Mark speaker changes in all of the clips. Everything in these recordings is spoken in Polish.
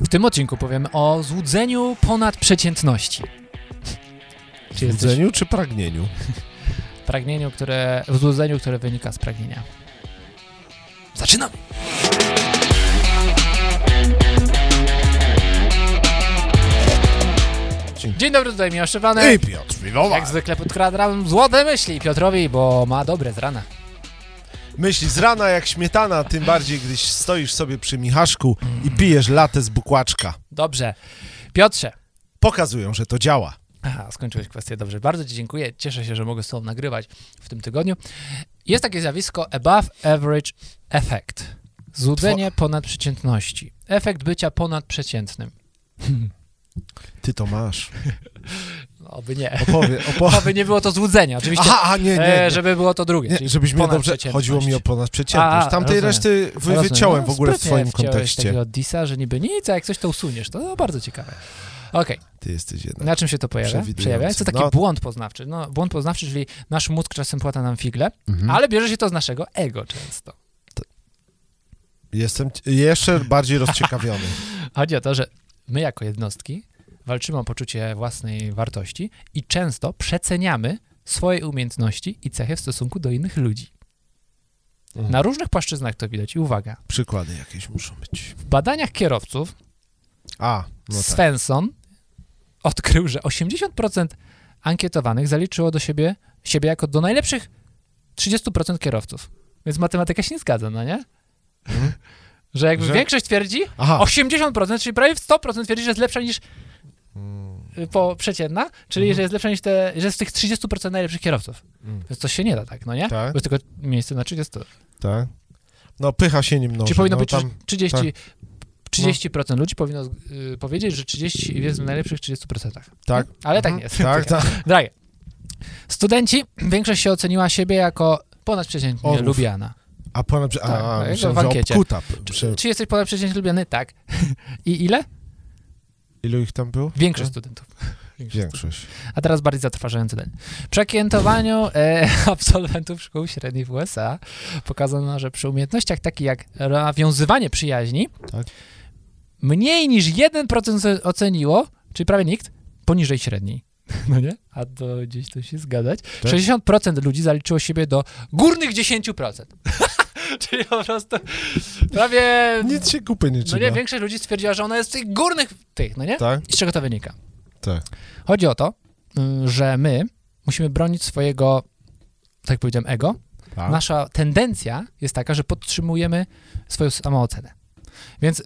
Speaker 1: W tym odcinku powiemy o złudzeniu ponad przeciętności. Czy jesteś
Speaker 2: Złudzeniu czy pragnieniu?
Speaker 1: w pragnieniu, które, w złudzeniu, które wynika z pragnienia. Zaczynamy!
Speaker 2: Dzień-
Speaker 1: Dzień dobry, tutaj Michał Szczepanek.
Speaker 2: Ej, Piotr,
Speaker 1: Jak
Speaker 2: Piwowar!
Speaker 1: zwykle podkradam złote myśli Piotrowi, bo ma dobre z rana.
Speaker 2: Myśli z rana jak śmietana, tym bardziej, gdyś stoisz sobie przy Michaszku i pijesz latę z bukłaczka.
Speaker 1: Dobrze. Piotrze.
Speaker 2: Pokazują, że to działa.
Speaker 1: Aha, skończyłeś kwestię. Dobrze. Bardzo Ci dziękuję. Cieszę się, że mogę z Tobą nagrywać w tym tygodniu. Jest takie zjawisko above average effect. Złudzenie ponad przeciętności. Efekt bycia ponad przeciętnym.
Speaker 2: Ty to masz.
Speaker 1: Oby nie.
Speaker 2: Opowie, opowie.
Speaker 1: Oby nie było to złudzenie. Oczywiście,
Speaker 2: Aha, aha, nie, nie,
Speaker 1: e,
Speaker 2: nie.
Speaker 1: żeby było to drugie.
Speaker 2: nie
Speaker 1: czyli
Speaker 2: żebyś mnie
Speaker 1: ponad
Speaker 2: dobrze...
Speaker 1: przeciętność.
Speaker 2: Chodziło mi o ponadprzeciętność.
Speaker 1: A,
Speaker 2: Tamtej
Speaker 1: rozumiem.
Speaker 2: reszty wy,
Speaker 1: Rozumiem.
Speaker 2: wyciąłem
Speaker 1: No,
Speaker 2: w ogóle w
Speaker 1: sprytnie
Speaker 2: swoim
Speaker 1: wciąłeś
Speaker 2: kontekście.
Speaker 1: takiego disa, że niby nic, a jak coś to usuniesz. To no, bardzo ciekawe. Okej.
Speaker 2: Ty jesteś jednak.
Speaker 1: Na czym się to pojawia?
Speaker 2: Przewidujący.
Speaker 1: Przejawia? Jest to taki
Speaker 2: No.
Speaker 1: błąd poznawczy. No, błąd poznawczy, czyli nasz mózg czasem płata nam figle,
Speaker 2: Mhm.
Speaker 1: ale bierze się to z naszego ego często.
Speaker 2: Jestem c- jeszcze bardziej rozciekawiony.
Speaker 1: Chodzi o to, że my jako jednostki walczymy o poczucie własnej wartości i często przeceniamy swoje umiejętności i cechy w stosunku do innych ludzi.
Speaker 2: Mhm.
Speaker 1: Na różnych płaszczyznach to widać. I uwaga,
Speaker 2: Przykłady jakieś muszą być.
Speaker 1: w badaniach kierowców
Speaker 2: A, no tak.
Speaker 1: Svensson odkrył, że 80% ankietowanych zaliczyło do siebie, siebie jako do najlepszych 30% kierowców. Więc matematyka się nie zgadza, no nie?
Speaker 2: Mhm.
Speaker 1: Że jakby
Speaker 2: Że-
Speaker 1: większość twierdzi,
Speaker 2: Aha,
Speaker 1: 80%, czyli prawie 100% twierdzi, że jest lepsza niż
Speaker 2: Hmm.
Speaker 1: y, po przeciętna, czyli
Speaker 2: Mhm.
Speaker 1: że jest lepsza niż te, że jest z tych 30% najlepszych kierowców.
Speaker 2: Mm.
Speaker 1: Więc to się nie da tak, no nie?
Speaker 2: Tak.
Speaker 1: Bo jest tylko miejsce na 30.
Speaker 2: tak. No pycha się nim mnoży.
Speaker 1: Czyli powinno
Speaker 2: no,
Speaker 1: być, że
Speaker 2: tam... tak.
Speaker 1: 30, 30% ludzi powinno y, powiedzieć, że 30 jest w najlepszych 30%.
Speaker 2: Tak.
Speaker 1: Ale tak
Speaker 2: Mhm.
Speaker 1: nie jest.
Speaker 2: Tak, tak.
Speaker 1: Dragie. Studenci, większość się oceniła siebie jako ponadprzeciętnie
Speaker 2: Orłów.
Speaker 1: lubiana.
Speaker 2: A ponad... A,
Speaker 1: Tak,
Speaker 2: a,
Speaker 1: tak,
Speaker 2: myślałem,
Speaker 1: w
Speaker 2: że
Speaker 1: ankiecie.
Speaker 2: obkuta. Że...
Speaker 1: Czy, czy jesteś ponadprzeciętnie lubiany? Tak. I ile?
Speaker 2: Ilu ich tam było?
Speaker 1: Większość
Speaker 2: Tak?
Speaker 1: studentów.
Speaker 2: Większość.
Speaker 1: A teraz bardziej zatrważający ten. Przekiętowaniu e, absolwentów szkół średnich w USA pokazano, że przy umiejętnościach takich jak nawiązywanie przyjaźni,
Speaker 2: Tak.
Speaker 1: mniej niż 1% oceniło, czyli prawie nikt, poniżej średniej. No nie? A to gdzieś tu się zgadzać.
Speaker 2: Tak.
Speaker 1: 60% ludzi zaliczyło siebie do górnych 10%. czyli po prostu prawie...
Speaker 2: Nic się kupy nie
Speaker 1: no
Speaker 2: czyna.
Speaker 1: nie, większość ludzi stwierdziła, że ona jest w tych górnych tych, no nie?
Speaker 2: Tak?
Speaker 1: I z czego to wynika?
Speaker 2: Tak.
Speaker 1: Chodzi o to, mm, że my musimy bronić swojego, tak jak powiedziałem, ego.
Speaker 2: tak.
Speaker 1: Nasza tendencja jest taka, że podtrzymujemy swoją samoocenę. Więc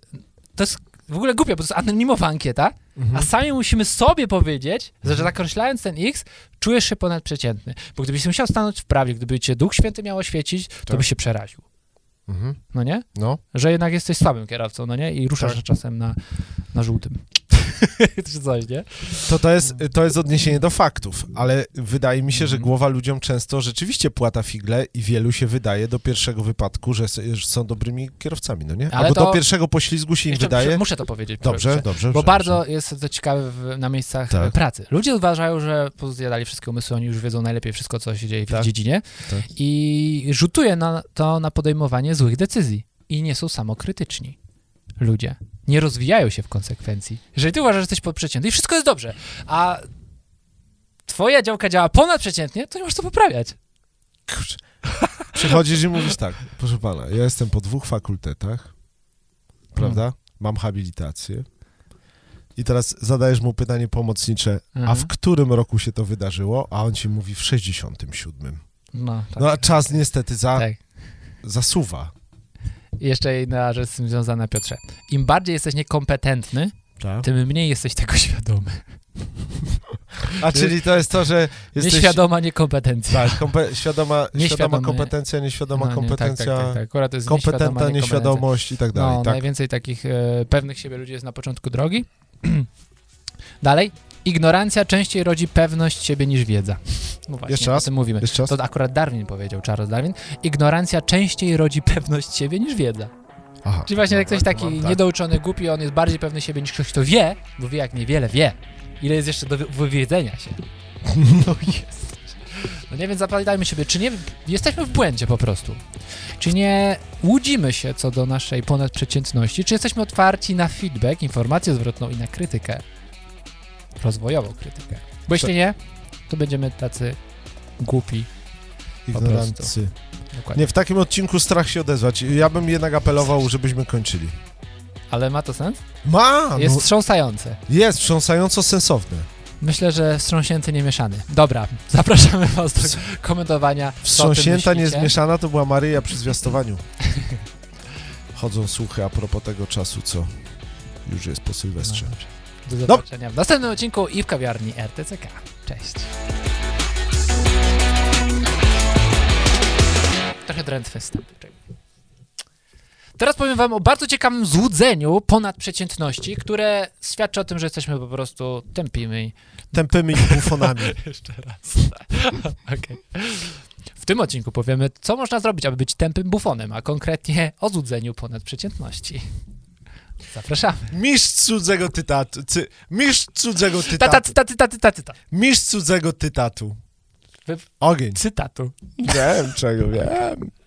Speaker 1: to jest w ogóle głupie, bo to jest anonimowa ankieta, a
Speaker 2: Mhm.
Speaker 1: sami musimy sobie powiedzieć, że, że zakreślając ten X, czujesz się ponadprzeciętny. Bo gdybyś się musiał stanąć w prawie, gdyby cię Duch Święty miał oświecić, to
Speaker 2: Tak.
Speaker 1: byś się przeraził.
Speaker 2: Mhm.
Speaker 1: No nie?
Speaker 2: No.
Speaker 1: Że jednak jesteś słabym kierowcą, no nie? I ruszasz
Speaker 2: Tak.
Speaker 1: czasem na, na żółtym. Czy coś, nie?
Speaker 2: To, to, jest, to jest odniesienie do faktów, ale wydaje mi się, że
Speaker 1: Mhm.
Speaker 2: głowa ludziom często rzeczywiście płata figle i wielu się wydaje do pierwszego wypadku, że s- że są dobrymi kierowcami, no nie?
Speaker 1: Ale
Speaker 2: Albo
Speaker 1: to-
Speaker 2: do pierwszego poślizgu się im
Speaker 1: Jeszcze
Speaker 2: wydaje.
Speaker 1: muszę, muszę to powiedzieć.
Speaker 2: Dobrze,
Speaker 1: proszę.
Speaker 2: dobrze.
Speaker 1: Bo
Speaker 2: dobrze.
Speaker 1: bardzo jest to ciekawe w, na miejscach
Speaker 2: Tak.
Speaker 1: e, pracy. Ludzie uważają, że pozjadali wszystkie umysły, oni już wiedzą najlepiej wszystko, co się dzieje w ich
Speaker 2: Tak.
Speaker 1: dziedzinie
Speaker 2: Tak.
Speaker 1: i rzutuje na to na podejmowanie złych decyzji i nie są samokrytyczni ludzie. Nie rozwijają się w konsekwencji. Jeżeli ty uważasz, że jesteś podprzeciętny i wszystko jest dobrze, a twoja działka działa ponadprzeciętnie, to nie możesz to poprawiać.
Speaker 2: Kurczę. Przychodzisz i mówisz tak, proszę pana, ja jestem po dwóch fakultetach, prawda? Mam habilitację. I teraz zadajesz mu pytanie pomocnicze, a
Speaker 1: Mhm.
Speaker 2: w którym roku się to wydarzyło? A on ci mówi w 67.
Speaker 1: No, tak.
Speaker 2: No a czas niestety za,
Speaker 1: tak.
Speaker 2: zasuwa.
Speaker 1: I Jeszcze jedna rzecz z tym związana, Piotrze. Im bardziej jesteś niekompetentny,
Speaker 2: Tak?
Speaker 1: tym mniej jesteś tego świadomy.
Speaker 2: A czyli to jest to, że jesteś...
Speaker 1: Nieświadoma niekompetencja.
Speaker 2: Tak, kompe, świadoma, świadoma
Speaker 1: Nieświadomy.
Speaker 2: kompetencja, nieświadoma
Speaker 1: No, nie,
Speaker 2: kompetencja,
Speaker 1: Tak, tak, tak, tak. Akurat to jest
Speaker 2: kompetentna
Speaker 1: nieświadoma niekompetencja.
Speaker 2: nieświadomość i tak dalej.
Speaker 1: No,
Speaker 2: tak.
Speaker 1: najwięcej takich e, pewnych siebie ludzi jest na początku drogi. Dalej. Ignorancja częściej rodzi pewność siebie niż wiedza. No właśnie,
Speaker 2: Jeszcze raz?
Speaker 1: o tym mówimy.
Speaker 2: Jeszcze raz?
Speaker 1: To akurat Darwin powiedział, Charles Darwin. Ignorancja częściej rodzi pewność siebie niż wiedza.
Speaker 2: Aha.
Speaker 1: Czyli właśnie jak ktoś taki
Speaker 2: tak.
Speaker 1: niedouczony, głupi, on jest bardziej pewny siebie niż ktoś, kto wie, bo wie jak niewiele wie. Ile jest jeszcze do wy- wywiedzenia się. No jest. No nie, więc zapytajmy siebie, czy nie jesteśmy w błędzie po prostu? Czy nie łudzimy się co do naszej ponadprzeciętności? Czy jesteśmy otwarci na feedback, informację zwrotną i na krytykę? Rozwojową krytykę. Bo jeśli nie, to będziemy tacy głupi.
Speaker 2: Ignorancy.
Speaker 1: Dokładnie.
Speaker 2: Nie, w takim odcinku strach się odezwać. Ja bym jednak apelował, żebyśmy kończyli.
Speaker 1: Ale ma to sens?
Speaker 2: Ma!
Speaker 1: Jest
Speaker 2: Jest, no,
Speaker 1: wstrząsające.
Speaker 2: jest wstrząsająco sensowne.
Speaker 1: Myślę, że wstrząsięty niemieszany. Dobra, zapraszamy was do
Speaker 2: Wstrz-
Speaker 1: komentowania. co o tym
Speaker 2: Wstrząsięta
Speaker 1: myślicie.
Speaker 2: niezmieszana to była Maryja przy zwiastowaniu. Chodzą słuchy a propos tego czasu, co już jest po Sylwestrze.
Speaker 1: No dobrze. Do zobaczenia w następnym odcinku i w kawiarni RTCK. Cześć. Trochę drętwy wstęp. Czekaj. Teraz powiem wam o bardzo ciekawym złudzeniu ponad przeciętności, które świadczy o tym, że jesteśmy po prostu tępimi.
Speaker 2: Tępymi i bufonami.
Speaker 1: Jeszcze raz. Okej. W tym odcinku powiemy, co można zrobić, aby być tępym bufonem, a konkretnie o złudzeniu ponad przeciętności. Zapraszamy.
Speaker 2: Mistrz cudzego tytatu. Cy, mistrz cudzego
Speaker 1: Tata,
Speaker 2: tytatu.
Speaker 1: cyta, cyta, cyta, cyta.
Speaker 2: Mistrz cudzego tytatu.
Speaker 1: Wy-
Speaker 2: Ogień.
Speaker 1: Cytatu.
Speaker 2: Wiem, czego wiem.